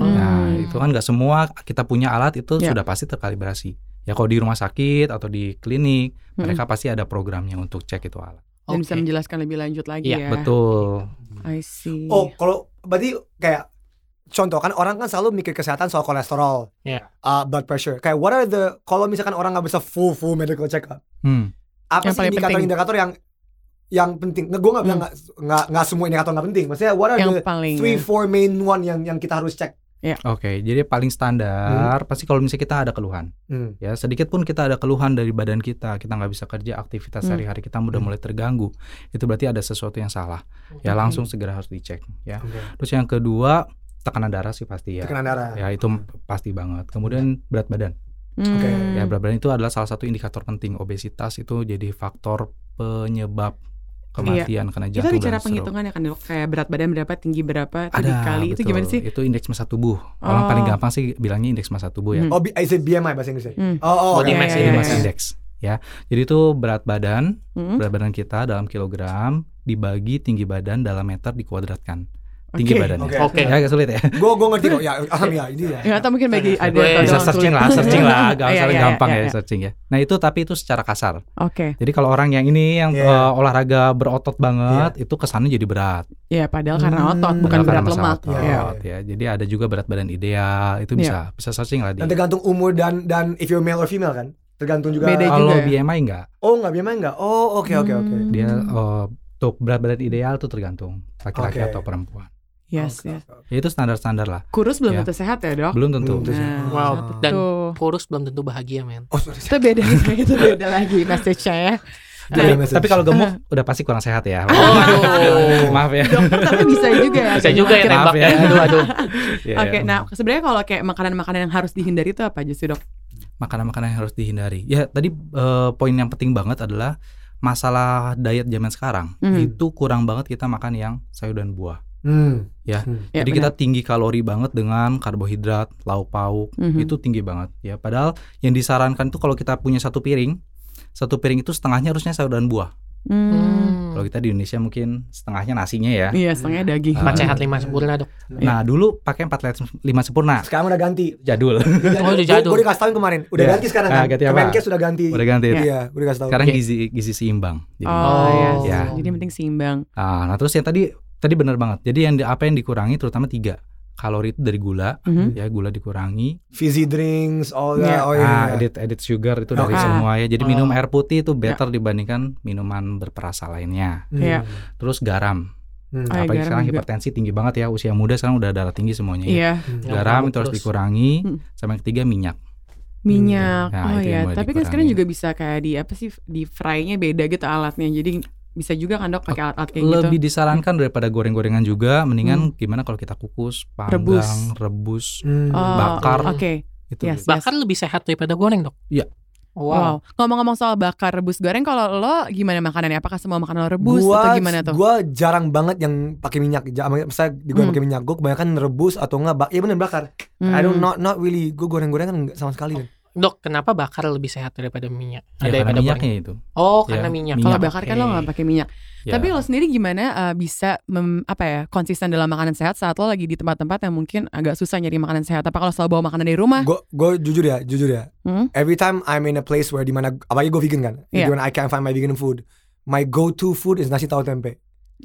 Speaker 1: Hmm.
Speaker 4: nah itu kan nggak semua kita punya alat itu
Speaker 1: Ya.
Speaker 4: sudah pasti terkalibrasi ya kalau di rumah sakit atau di klinik
Speaker 1: Mm-mm.
Speaker 4: mereka pasti ada programnya untuk cek itu alat
Speaker 1: dan bisa
Speaker 2: Oke.
Speaker 1: menjelaskan lebih lanjut lagi
Speaker 2: Iya,
Speaker 1: ya
Speaker 4: betul
Speaker 1: I see
Speaker 3: Oh, kalau berarti kayak contoh kan orang kan selalu mikir kesehatan soal kolesterol,
Speaker 2: Iya.
Speaker 3: uh, blood pressure. Kayak what are the kalau misalkan orang nggak bisa full full medical check up,
Speaker 4: Hmm.
Speaker 1: Yang
Speaker 3: apa sih
Speaker 1: paling Hmm.
Speaker 3: indikator-indikator yang yang penting? Nggak, gue nggak bilang nggak nggak nggak semua indikator nggak penting. Maksudnya what are
Speaker 1: yang
Speaker 3: the
Speaker 1: paling ya.
Speaker 3: three four main one yang yang kita harus cek?
Speaker 4: oke jadi paling standar
Speaker 1: Hmm.
Speaker 4: pasti kalau misalnya kita ada keluhan
Speaker 3: Hmm.
Speaker 4: ya sedikit pun kita ada keluhan dari badan kita kita nggak bisa kerja aktivitas
Speaker 1: Hmm.
Speaker 4: sehari-hari kita udah mulai terganggu itu berarti ada sesuatu yang salah ya
Speaker 1: Oke.
Speaker 4: langsung segera harus dicek ya terus yang kedua tekanan darah sih pasti ya
Speaker 3: Tekanan darah.
Speaker 4: ya itu m- pasti banget kemudian berat badan
Speaker 1: Hmm.
Speaker 3: Oke,
Speaker 4: ya berat badan itu adalah salah satu indikator penting obesitas itu jadi faktor penyebab kematian karena
Speaker 1: Iya. itu
Speaker 4: jantung
Speaker 1: ada cara
Speaker 4: dan stroke.
Speaker 1: penghitungan ya kan dok kayak berat badan berapa tinggi berapa itu
Speaker 4: ada
Speaker 1: dikali itu
Speaker 4: betul.
Speaker 1: gimana sih
Speaker 4: itu indeks massa tubuh orang
Speaker 1: Oh.
Speaker 4: paling gampang sih bilangnya indeks massa tubuh ya
Speaker 1: Hmm.
Speaker 3: Oh, B- I say BMI bahasa Inggrisnya.
Speaker 1: Hmm.
Speaker 3: Oh, oh,
Speaker 2: Body
Speaker 3: oke.
Speaker 2: mass
Speaker 1: Iya,
Speaker 4: Jadi
Speaker 1: iya,
Speaker 4: mass
Speaker 1: iya.
Speaker 4: index ya jadi itu berat badan
Speaker 1: Hmm?
Speaker 4: berat badan kita dalam kilogram dibagi tinggi badan dalam meter dikuadratkan
Speaker 1: Oke.
Speaker 4: tinggi badannya.
Speaker 3: Oke.
Speaker 2: Oke.
Speaker 4: Ya agak sulit ya.
Speaker 3: Gue gue ngerti kok. Ya, alhamdulillah ya, ini ya.
Speaker 1: Ya, atau mungkin bagi ada
Speaker 2: Gue
Speaker 1: yang
Speaker 4: Bisa
Speaker 1: orang
Speaker 4: searching
Speaker 1: sulit.
Speaker 4: lah, searching lah, agak
Speaker 1: Iya,
Speaker 4: saling
Speaker 1: iya,
Speaker 4: gampang
Speaker 1: iya,
Speaker 4: ya
Speaker 1: iya.
Speaker 4: searching ya. Nah itu tapi itu secara kasar.
Speaker 1: Oke,
Speaker 4: Jadi kalau orang yang ini yang
Speaker 3: Iya.
Speaker 4: eh, olahraga berotot banget, itu kesannya jadi berat.
Speaker 1: ya padahal karena otot
Speaker 3: Hmm.
Speaker 1: Iya. bukan
Speaker 4: Padahal
Speaker 1: berat
Speaker 4: karena masalah
Speaker 1: lemak.
Speaker 4: otot,
Speaker 1: Iya.
Speaker 4: ya. Jadi ada juga berat badan ideal, itu bisa bisa searching lah di.
Speaker 3: Dan tergantung umur dan dan if you're male or female kan. Tergantung juga.
Speaker 1: Beda
Speaker 4: Kalau
Speaker 1: juga ya.
Speaker 4: BMI enggak,
Speaker 3: Oh, nggak BMI nggak? Oh, oke oke oke.
Speaker 1: Hmm.
Speaker 4: dia eh, untuk berat badan ideal tuh tergantung laki-laki
Speaker 3: Oke.
Speaker 4: atau perempuan.
Speaker 1: Yes,
Speaker 3: Oke,
Speaker 1: yes.
Speaker 3: oke, oke.
Speaker 4: Ya, itu standar-standar lah.
Speaker 1: Kurus belum
Speaker 4: Ya.
Speaker 1: tentu sehat ya dok?
Speaker 4: Belum tentu.
Speaker 3: Belum tentu.
Speaker 1: Nah,
Speaker 2: Wow. Dan
Speaker 1: Tuh.
Speaker 2: kurus belum tentu bahagia, men.
Speaker 3: Oh, sorry.
Speaker 1: Itu beda itu beda lagi message-nya ya.
Speaker 4: Tapi,
Speaker 3: Nah,
Speaker 4: tapi kalau gemuk udah pasti kurang sehat ya.
Speaker 1: Oh.
Speaker 2: Waduh.
Speaker 4: Maaf ya.
Speaker 1: Dokter tapi bisa juga ya.
Speaker 2: Bisa juga ya
Speaker 1: Oke,
Speaker 4: Maaf
Speaker 2: tembak ya.
Speaker 4: ya.
Speaker 2: Aduh, aduh.
Speaker 4: Iya,
Speaker 1: Oke,
Speaker 4: iya.
Speaker 1: nah sebenarnya kalau kayak makanan-makanan yang harus dihindari itu apa aja sih dok?
Speaker 4: makanan-makanan yang harus dihindari. Ya tadi eh, poin yang penting banget adalah masalah diet zaman sekarang
Speaker 1: Hmm.
Speaker 4: itu kurang banget kita makan yang sayur dan buah.
Speaker 3: Hmm.
Speaker 4: Ya.
Speaker 3: Hmm.
Speaker 1: Ya,
Speaker 4: Jadi
Speaker 1: benar.
Speaker 4: kita tinggi kalori banget dengan karbohidrat, lauk pauk
Speaker 1: Mhm.
Speaker 4: itu tinggi banget. Ya padahal yang disarankan itu kalau kita punya satu piring satu piring itu setengahnya harusnya sayur dan buah.
Speaker 1: Hmm.
Speaker 4: Kalau gitu. kita di Indonesia mungkin setengahnya nasinya ya.
Speaker 1: Iya, setengahnya daging.
Speaker 4: Ah.
Speaker 2: Empat sehat lima sempurna, dok.
Speaker 4: Nah dulu pakai empat lihat lima sempurna
Speaker 3: Sekarang udah ganti.
Speaker 4: jadul.
Speaker 2: Oh, udah jadul.
Speaker 3: Gue dikasih tahuin kemarin. Udah
Speaker 4: Iya.
Speaker 3: ganti sekarang kan.
Speaker 4: Ah, ganti apa?
Speaker 3: Kemenkes sudah ganti.
Speaker 4: Udah ganti.
Speaker 1: Iya.
Speaker 3: Iya, gue dikasih tahu.
Speaker 4: Sekarang
Speaker 2: Oke.
Speaker 4: gizi gizi seimbang. Jadi
Speaker 1: Oh,
Speaker 2: Oh.
Speaker 1: yes.
Speaker 4: Ya.
Speaker 1: Jadi yang penting seimbang.
Speaker 4: Ah, nah terus yang tadi tadi benar banget. Jadi yang di- apa yang dikurangi terutama tiga kalori itu dari gula,
Speaker 1: Mhm.
Speaker 4: ya gula dikurangi.
Speaker 3: Fizzy drinks, all
Speaker 1: Iya.
Speaker 3: that. Oh
Speaker 4: ah,
Speaker 3: iya.
Speaker 4: edit edit sugar itu
Speaker 1: ah.
Speaker 4: dari
Speaker 3: Oke.
Speaker 4: semua ya. Jadi
Speaker 2: Oh.
Speaker 4: minum air putih itu
Speaker 1: Ya.
Speaker 4: better dibandingkan minuman berperasa lainnya.
Speaker 3: Hmm.
Speaker 1: Iya.
Speaker 4: Terus garam.
Speaker 3: Hmm.
Speaker 1: Ah, iya,
Speaker 4: Apalagi
Speaker 1: garam
Speaker 4: sekarang
Speaker 1: juga.
Speaker 4: hipertensi tinggi banget ya usia muda sekarang udah darah tinggi semuanya. ya.
Speaker 1: Iya,
Speaker 3: Hmm.
Speaker 4: Garam itu harus
Speaker 2: Terus.
Speaker 4: dikurangi.
Speaker 1: Hmm.
Speaker 4: Sama yang ketiga minyak.
Speaker 1: minyak.
Speaker 4: Nah,
Speaker 1: oh
Speaker 4: itu yang
Speaker 1: iya,
Speaker 4: boleh
Speaker 1: tapi kan sekarang
Speaker 4: dikurangi.
Speaker 1: juga bisa kayak di apa sih di fry-nya beda gitu alatnya. Jadi bisa juga kan dok pakai alat-alat kayak gitu. Hmm.
Speaker 4: Lebih disarankan daripada goreng-gorengan juga. Mendingan gimana kalau kita kukus, panggang,
Speaker 1: Rebus.
Speaker 4: rebus,
Speaker 3: Hmm.
Speaker 1: Oh,
Speaker 4: bakar. Gitu.
Speaker 1: Oke.
Speaker 4: itu.
Speaker 1: Yes.
Speaker 2: Bahkan lebih sehat daripada goreng, dok.
Speaker 4: Iya.
Speaker 2: Wow.
Speaker 1: Wow. Ngomong-ngomong soal bakar rebus goreng, kalau lo gimana makanannya? Apakah semua makanan lo rebus atau gimana tuh?
Speaker 3: Gua jarang banak yang pakai minyak. Ja- Misalnya di goreng
Speaker 1: Hmm.
Speaker 3: pakai ya
Speaker 1: Hmm.
Speaker 3: minyak, gue kebanyakan rebus atau enggak bak. Iya bener bakar. I don't not not really. Gue goreng-goreng kan enggak sama sekali.
Speaker 2: Dok, kenapa bakar lebih sehat daripada minyak?
Speaker 4: Ya, karena
Speaker 2: daripada
Speaker 4: minyaknya itu.
Speaker 2: goreng? Oh, karena
Speaker 4: Ya,
Speaker 2: minyak.
Speaker 1: Kalau
Speaker 4: Minyak,
Speaker 1: bakar kan lo
Speaker 2: oke.
Speaker 1: nggak pakai minyak.
Speaker 4: Ya.
Speaker 1: Tapi lo sendiri gimana uh, bisa mem- apa ya konsisten dalam makanan sehat saat lo lagi di tempat-tempat yang mungkin agak susah nyari makanan sehat? Apa kalau selalu bawa makanan dari rumah?
Speaker 3: Gue jujur ya, jujur ya.
Speaker 1: Hmm?
Speaker 3: Every time I'm in a place where dimana apalagi gue vegan kan,
Speaker 1: Iya.
Speaker 3: when I can't find my vegan food, my go-to food is nasi tahu tempe.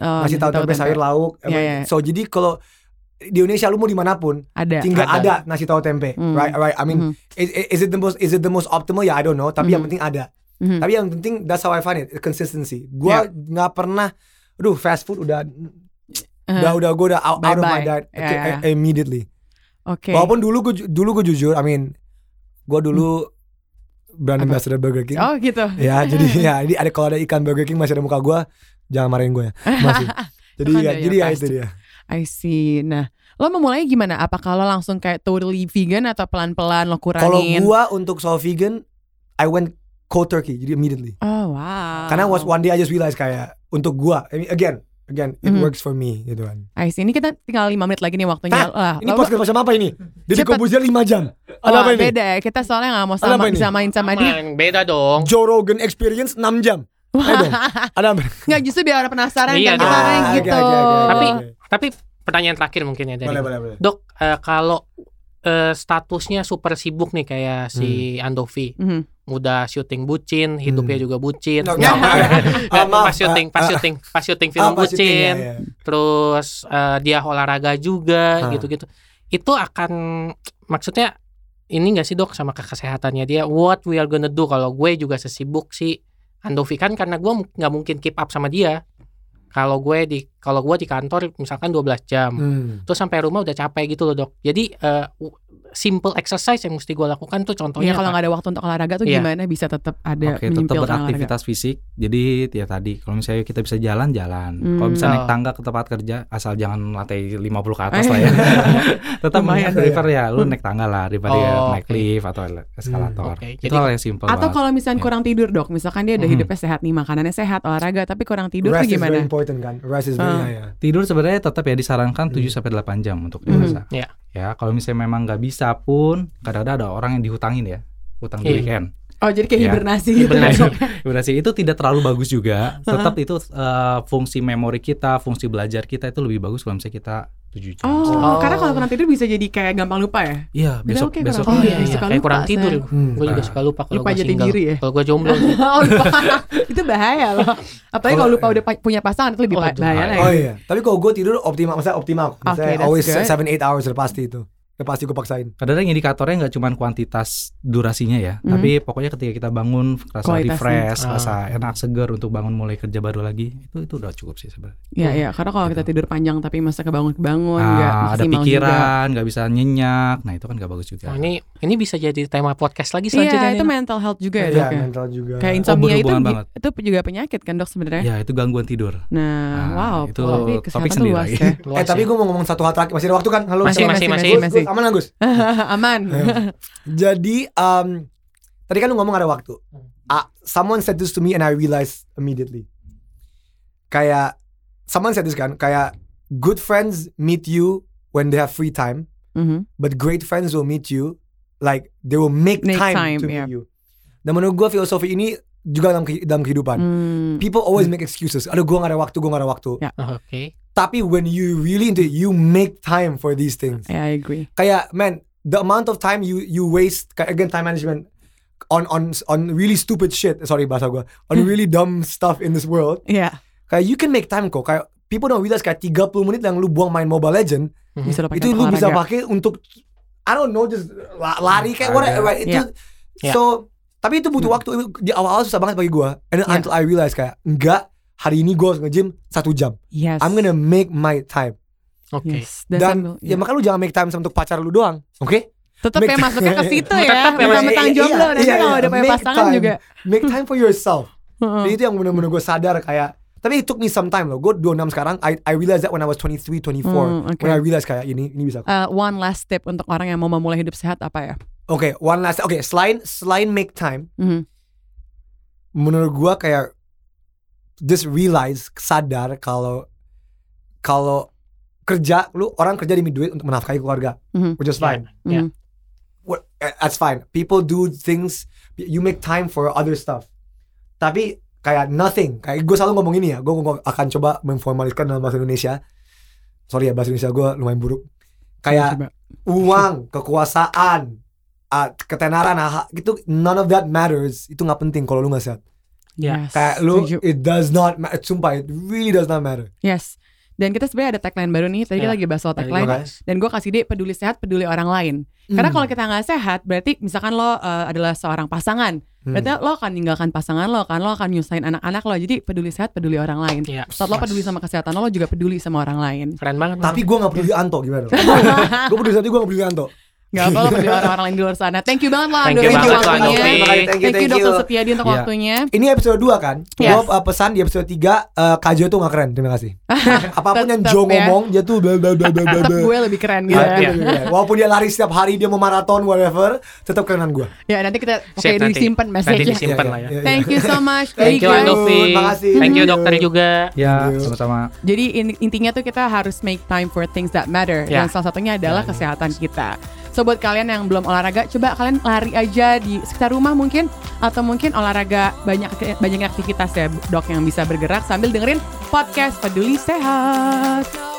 Speaker 1: Oh,
Speaker 3: nasi tahu tempe, sayur lauk.
Speaker 1: Iya, iya.
Speaker 3: So jadi kalau di Indonesia lu mau dimanapun,
Speaker 1: Ya, Ada.
Speaker 3: tinggal
Speaker 2: Ada.
Speaker 3: ada. nasi tahu tempe,
Speaker 1: Hmm.
Speaker 3: right? Right. I
Speaker 1: Mhm,
Speaker 3: mean, is, is it the most is it the most optimal? Ya I don't know. Tapi yang
Speaker 1: Mhm.
Speaker 3: penting ada.
Speaker 1: mhm.
Speaker 3: Tapi yang penting that's how I find it, consistency.
Speaker 1: Ya.
Speaker 3: Gua nggak pernah aduh fast food udah
Speaker 1: Eh,
Speaker 3: udah udah gua udah out, out of
Speaker 1: Bye-bye.
Speaker 3: my diet
Speaker 1: Ya,
Speaker 3: okay,
Speaker 1: ya.
Speaker 3: eh, immediately.
Speaker 1: Oke.
Speaker 3: Walaupun dulu gua ju- dulu gua jujur, I mean gua dulu brand
Speaker 1: Hmm. Apa?
Speaker 3: ambassador Burger King.
Speaker 1: Oh gitu.
Speaker 3: Ya, jadi ya ini ada kalau ada ikan Burger King masih ada muka gua, jangan marahin gua ya. Masih. Jadi
Speaker 1: Kan
Speaker 3: ya,
Speaker 1: ada ya,
Speaker 3: jadi ya itu
Speaker 1: pasti.
Speaker 3: dia.
Speaker 1: I see. Nah, lo memulai gimana? Apa kalau langsung kayak totally vegan atau pelan-pelan lo
Speaker 3: Kalau
Speaker 1: kurangin?
Speaker 3: gua untuk soal vegan, I went cold turkey, jadi immediately.
Speaker 1: Oh wow.
Speaker 3: Karena was one day I just realized kayak untuk gua, I mean, again, again it
Speaker 1: Mhm.
Speaker 3: works for me gitu kan.
Speaker 1: I see. Ini kita tinggal 5 menit lagi nih waktunya.
Speaker 3: Tah,
Speaker 1: Lah,
Speaker 3: Nah, Ini
Speaker 1: lo-
Speaker 3: podcast macam apa ini? Jadi
Speaker 1: Ah, Cepet.
Speaker 3: Kobuzia 5 jam. Ada
Speaker 1: Wah,
Speaker 3: apa ini?
Speaker 1: Beda ya. Kita soalnya nggak mau
Speaker 3: Ada
Speaker 1: sama
Speaker 3: apa ini?
Speaker 1: disamain sama dia.
Speaker 2: Aman, beda dong.
Speaker 3: Joe Rogan Experience 6 jam. Eh dong. Ada apa?
Speaker 1: Nggak justru biar orang penasaran
Speaker 2: Iya
Speaker 1: kan kita
Speaker 2: dong.
Speaker 1: orangnya
Speaker 3: Ah, oke,
Speaker 1: gitu.
Speaker 3: oke, oke, oke,
Speaker 2: Tapi-
Speaker 3: oke.
Speaker 2: Tapi pertanyaan terakhir mungkin ya dari.
Speaker 3: boleh boleh boleh.
Speaker 2: Dok, eh, kalau eh, statusnya super sibuk nih kayak si
Speaker 4: Hmm.
Speaker 2: Andovi,
Speaker 1: Mhm.
Speaker 2: udah syuting bucin, hidupnya juga bucin.
Speaker 3: No, no,
Speaker 2: Eh,
Speaker 3: Ah, maaf.
Speaker 2: pas syuting, pas
Speaker 3: Ah, ah,
Speaker 2: syuting, pas syuting
Speaker 3: ah,
Speaker 2: film
Speaker 3: pas
Speaker 2: bucin,
Speaker 3: syuting, ya, ya.
Speaker 2: terus eh, dia olahraga
Speaker 3: Ah.
Speaker 2: juga gitu-gitu. Itu akan maksudnya ini gak sih dok sama ke kesehatannya dia what we are gonna do kalau gue juga sesibuk si Andovi kan karena gue mu- nggak mungkin keep up sama dia kalau gue di kalau gue di kantor misalkan 12 jam
Speaker 3: Hmm.
Speaker 2: terus sampai rumah udah capek gitu loh dok jadi eh, w- simple exercise yang mesti gue lakukan tuh
Speaker 1: Iya
Speaker 2: contohnya
Speaker 1: kalau
Speaker 2: apa?
Speaker 1: nggak ada waktu untuk olahraga tuh
Speaker 2: Iya.
Speaker 1: gimana bisa tetap ada
Speaker 4: Oke, tetap
Speaker 1: menyimpilkan olahraga.
Speaker 4: beraktivitas fisik. Jadi ya tadi kalau misalnya kita bisa jalan, jalan.
Speaker 1: Hmm.
Speaker 4: Kalau bisa naik
Speaker 2: Oh.
Speaker 4: tangga ke tempat kerja, asal jangan lantai 50 ke atas lah ya. tetap
Speaker 1: Lumayan.
Speaker 4: mending prefer ya, lu naik tangga lah daripada
Speaker 2: Oh,
Speaker 4: ya naik
Speaker 2: oke.
Speaker 4: lift atau eskalator.
Speaker 2: Hmm, oke.
Speaker 4: Itu
Speaker 2: Jadi-
Speaker 4: hal yang simpel
Speaker 1: Atau
Speaker 4: banget.
Speaker 1: kalau misalnya
Speaker 4: Iya.
Speaker 1: kurang tidur dok, misalkan dia udah
Speaker 4: Mhm.
Speaker 1: hidupnya sehat nih, makanannya sehat, olahraga, tapi kurang tidur tuh
Speaker 3: Rest is very
Speaker 1: gimana?
Speaker 3: important kan. Rest is very
Speaker 1: Ah.
Speaker 3: ya, ya.
Speaker 4: Tidur sebenarnya tetap ya disarankan
Speaker 3: Hmm.
Speaker 4: 7 sampai 8 jam untuk
Speaker 1: Hmm.
Speaker 4: dewasa.
Speaker 2: Iya.
Speaker 4: Ya, kalau misalnya memang nggak bisa pun, kadang-kadang ada orang yang dihutangin ya, utang di
Speaker 2: Iya.
Speaker 4: weekend.
Speaker 1: Oh jadi kayak
Speaker 4: Iya.
Speaker 1: hibernasi gitu.
Speaker 2: Hibernasi.
Speaker 1: dok.
Speaker 4: Benar sih, itu tidak terlalu bagus juga. Tetap itu eh, fungsi memori kita, fungsi belajar kita itu lebih bagus kalau misalnya kita 7 jam.
Speaker 1: Oh,
Speaker 2: Oh.
Speaker 1: karena kalau kurang tidur bisa jadi kayak gampang lupa ya.
Speaker 4: Iya, besok
Speaker 1: oke,
Speaker 4: besok.
Speaker 1: kurang-
Speaker 2: oh iya,
Speaker 1: Iya,
Speaker 2: iya.
Speaker 1: suka
Speaker 2: kayak
Speaker 1: lupa
Speaker 2: kurang
Speaker 1: saya.
Speaker 2: tidur
Speaker 3: Hmm.
Speaker 2: gue juga
Speaker 4: Ah.
Speaker 2: suka lupa kalau
Speaker 1: Lupa
Speaker 2: gue
Speaker 1: jadi
Speaker 2: single
Speaker 1: diri ya?
Speaker 2: Eh, kalau gue jomblo
Speaker 1: oh lupa, itu bahaya loh. Apalagi kalau lupa udah pa- punya pasangan itu lebih
Speaker 2: Oh,
Speaker 1: ba-
Speaker 2: aduh.
Speaker 1: bahaya ya? lagi.
Speaker 3: Oh iya. Tapi kalau gue tidur optimal, maksudnya optimal. Maksudnya
Speaker 1: that's
Speaker 3: always
Speaker 1: good.
Speaker 3: 7 8 hours udah pasti itu. Udah pasti gue paksain.
Speaker 4: Kadang-kadang indikatornya nggak cuma kuantitas durasinya ya,
Speaker 1: Mhm.
Speaker 4: tapi pokoknya ketika kita bangun rasa
Speaker 1: Kualitasnya.
Speaker 4: refresh,
Speaker 2: Ah.
Speaker 4: rasa enak segar untuk bangun mulai kerja baru lagi, itu itu udah cukup sih sebenarnya.
Speaker 1: Iya iya, karena kalau kita
Speaker 4: Gitu.
Speaker 1: tidur panjang tapi masa kebangun-kebangun nggak Oh,
Speaker 4: Ah, ada
Speaker 1: iya. maksimal juga.
Speaker 4: pikiran, nggak bisa nyenyak, nah itu kan nggak bagus juga.
Speaker 2: Oh, ini ini bisa jadi tema podcast lagi selanjutnya
Speaker 1: Iya, itu
Speaker 2: nih.
Speaker 1: mental health juga ya,
Speaker 3: Iya,
Speaker 1: dok ya.
Speaker 3: mental juga.
Speaker 1: Kayak insomnia itu
Speaker 4: berhubungan
Speaker 1: gi-
Speaker 4: banget.
Speaker 1: itu juga penyakit kan dok sebenarnya.
Speaker 4: Ya itu gangguan tidur.
Speaker 1: Nah,
Speaker 4: Ah,
Speaker 1: wow,
Speaker 4: itu
Speaker 1: tapi
Speaker 4: topik
Speaker 1: kesehatan tuh
Speaker 4: sendiri
Speaker 1: luas
Speaker 4: lagi.
Speaker 1: ya.
Speaker 2: Luas
Speaker 3: eh tapi
Speaker 2: ya.
Speaker 3: gue mau ngomong satu hal terakhir masih ada waktu kan? Halo.
Speaker 2: Masih,
Speaker 3: Gus,
Speaker 2: masih, masih.
Speaker 3: Gus, Gus, aman Gus.
Speaker 1: Aman.
Speaker 3: Jadi em, tadi kan lu ngomong ada waktu.
Speaker 1: Hmm.
Speaker 3: Ah, someone said this to me and I realized immediately. Kayak someone said this kan, kayak good friends meet you when they have free time,
Speaker 1: Mhm.
Speaker 3: but great friends will meet you like they will make,
Speaker 1: Make
Speaker 3: time,
Speaker 1: time,
Speaker 3: to
Speaker 1: yeah.
Speaker 3: meet you. Dan menurut gue filosofi ini juga dalam kehi- dalam kehidupan.
Speaker 1: Hmm.
Speaker 3: People always make excuses. Aduh, gue gak ada waktu, gue gak ada waktu.
Speaker 1: Ya.
Speaker 2: Oh, Oke.
Speaker 3: Tapi when you really into it, you make time for these things.
Speaker 1: Yeah, I agree.
Speaker 3: kayak man the amount of time you you waste kayak again time management on on on really stupid shit sorry bahasa gua on
Speaker 1: Hmm.
Speaker 3: really dumb stuff in this world
Speaker 1: Iya,
Speaker 3: kayak you can make time kok kayak people don't realize kayak 30 menit yang lu buang main Mobile Legend
Speaker 1: bisa lo pakai
Speaker 3: itu
Speaker 1: untuk
Speaker 3: lu bisa
Speaker 1: olahraga.
Speaker 3: pakai untuk I don't know just la- lari kayak what
Speaker 4: Olahraga.
Speaker 3: right, itu
Speaker 2: Yeah.
Speaker 3: so tapi itu butuh waktu di awal-awal susah banget bagi gua and then
Speaker 1: Hmm. Yeah.
Speaker 3: until I realize kayak enggak hari ini gua harus nge-gym satu jam
Speaker 1: Yes.
Speaker 3: I'm gonna make my time
Speaker 2: Oke.
Speaker 1: Yes. Dan,
Speaker 3: dan
Speaker 1: sambil- ya.
Speaker 3: ya makanya lu jangan make time untuk pacar lu doang oke
Speaker 1: tetap
Speaker 3: make-
Speaker 1: ya masuknya ke situ ya.
Speaker 2: Tetap ya,
Speaker 1: Mentang-mentang
Speaker 3: iya,
Speaker 1: jomblo
Speaker 3: iya,
Speaker 1: nanti
Speaker 3: iya,
Speaker 1: kalau
Speaker 3: iya.
Speaker 1: udah punya
Speaker 3: Make
Speaker 1: pasangan
Speaker 3: time.
Speaker 1: juga.
Speaker 3: make time for yourself
Speaker 1: Heeh.
Speaker 3: Jadi itu yang benar-benar gue sadar kayak tapi it took me some time loh. Gue 26 sekarang. I I realized that when I was 23, 24.
Speaker 1: Hmm, oke.
Speaker 3: When I realized kayak ini ini bisa. Oke,
Speaker 1: Eh, one last tip untuk orang yang mau memulai hidup sehat apa ya?
Speaker 3: one last. Oke, selain selain make time,
Speaker 1: Mhm.
Speaker 3: menurut gue kayak just realize sadar kalau kalau kerja lu orang kerja demi duit untuk menafkahi keluarga,
Speaker 1: Mhm.
Speaker 3: which is fine.
Speaker 2: Ya.
Speaker 1: Mhm.
Speaker 3: what, eh, that's fine. People do things. You make time for other stuff. Tapi kayak nothing. Kayak gue selalu ngomong ini ya. Gue akan coba memformalkan dalam bahasa Indonesia. Sorry ya bahasa Indonesia gue lumayan buruk. Kayak
Speaker 1: Coba.
Speaker 3: uang, kekuasaan, ah, ketenaran, ah, gitu. None of that matters. Itu nggak penting kalau lu nggak sehat.
Speaker 2: Ya,
Speaker 1: Yes,
Speaker 3: Kayak lu,
Speaker 1: setuju.
Speaker 3: it does not matter. Sumpah, it really does not matter.
Speaker 1: Yes. Dan kita sebenarnya ada tagline baru nih. Tadi kita
Speaker 3: Iya.
Speaker 2: Ya.
Speaker 1: lagi bahas soal
Speaker 2: Tadi
Speaker 1: tagline.
Speaker 3: guys.
Speaker 1: Dan gue kasih dia peduli sehat, peduli orang lain. Karena
Speaker 3: Hmm. Mm.
Speaker 1: kalau kita nggak sehat, berarti misalkan lo eh, adalah seorang pasangan,
Speaker 3: Hmm.
Speaker 1: berarti lo akan meninggalkan pasangan lo, kan lo akan nyusahin anak-anak lo. Jadi peduli sehat, peduli orang lain.
Speaker 2: Iya.
Speaker 1: Saat lo peduli sama kesehatan lo, lo juga peduli sama orang lain.
Speaker 2: keren banget.
Speaker 3: Tapi gue gak peduli Anto gimana Gue peduli tapi gue gak peduli Anto
Speaker 1: Gak apa lo peduli orang-orang lain di luar sana. Thank you banget lah
Speaker 2: Thank
Speaker 1: Andoro,
Speaker 2: you banget,
Speaker 1: untuk
Speaker 2: Bang Novi.
Speaker 1: waktunya.
Speaker 3: Makasih, thank you,
Speaker 1: Thank you
Speaker 3: thank you.
Speaker 1: dokter Setiadi untuk
Speaker 4: Iya.
Speaker 1: waktunya.
Speaker 3: Ini episode 2 kan
Speaker 1: Yes.
Speaker 3: Gue pesan di episode 3 eh Kajo tuh gak keren Terima kasih Apapun yang
Speaker 1: Tetep
Speaker 3: Jo
Speaker 1: ya.
Speaker 3: ngomong Dia tuh bla bla bla bla bla
Speaker 1: Tetap
Speaker 3: bla.
Speaker 1: gue lebih keren gitu. ya.
Speaker 3: Iya, iya, iya. Walaupun dia lari setiap hari Dia mau maraton whatever Tetap kerenan Iya, gue
Speaker 1: Ya nanti kita oke
Speaker 2: Siap, nanti.
Speaker 1: disimpan
Speaker 2: Nanti
Speaker 1: message-nya.
Speaker 2: disimpan lah ya.
Speaker 1: Thank you so much.
Speaker 3: Thank
Speaker 2: Thank you
Speaker 1: Rico.
Speaker 3: Thank you.
Speaker 2: Andovi.
Speaker 3: Makasih.
Speaker 2: Thank you dokter juga.
Speaker 4: Ya,
Speaker 1: Iya.
Speaker 3: Thank you.
Speaker 4: sama-sama.
Speaker 1: Jadi in- intinya tuh kita harus make time for things that matter
Speaker 2: Ya.
Speaker 1: dan salah satunya adalah kesehatan kita. So buat kalian yang belum olahraga, coba kalian lari aja di sekitar rumah mungkin atau mungkin olahraga banyak banyak aktivitas ya dok yang bisa bergerak sambil dengerin podcast peduli sehat.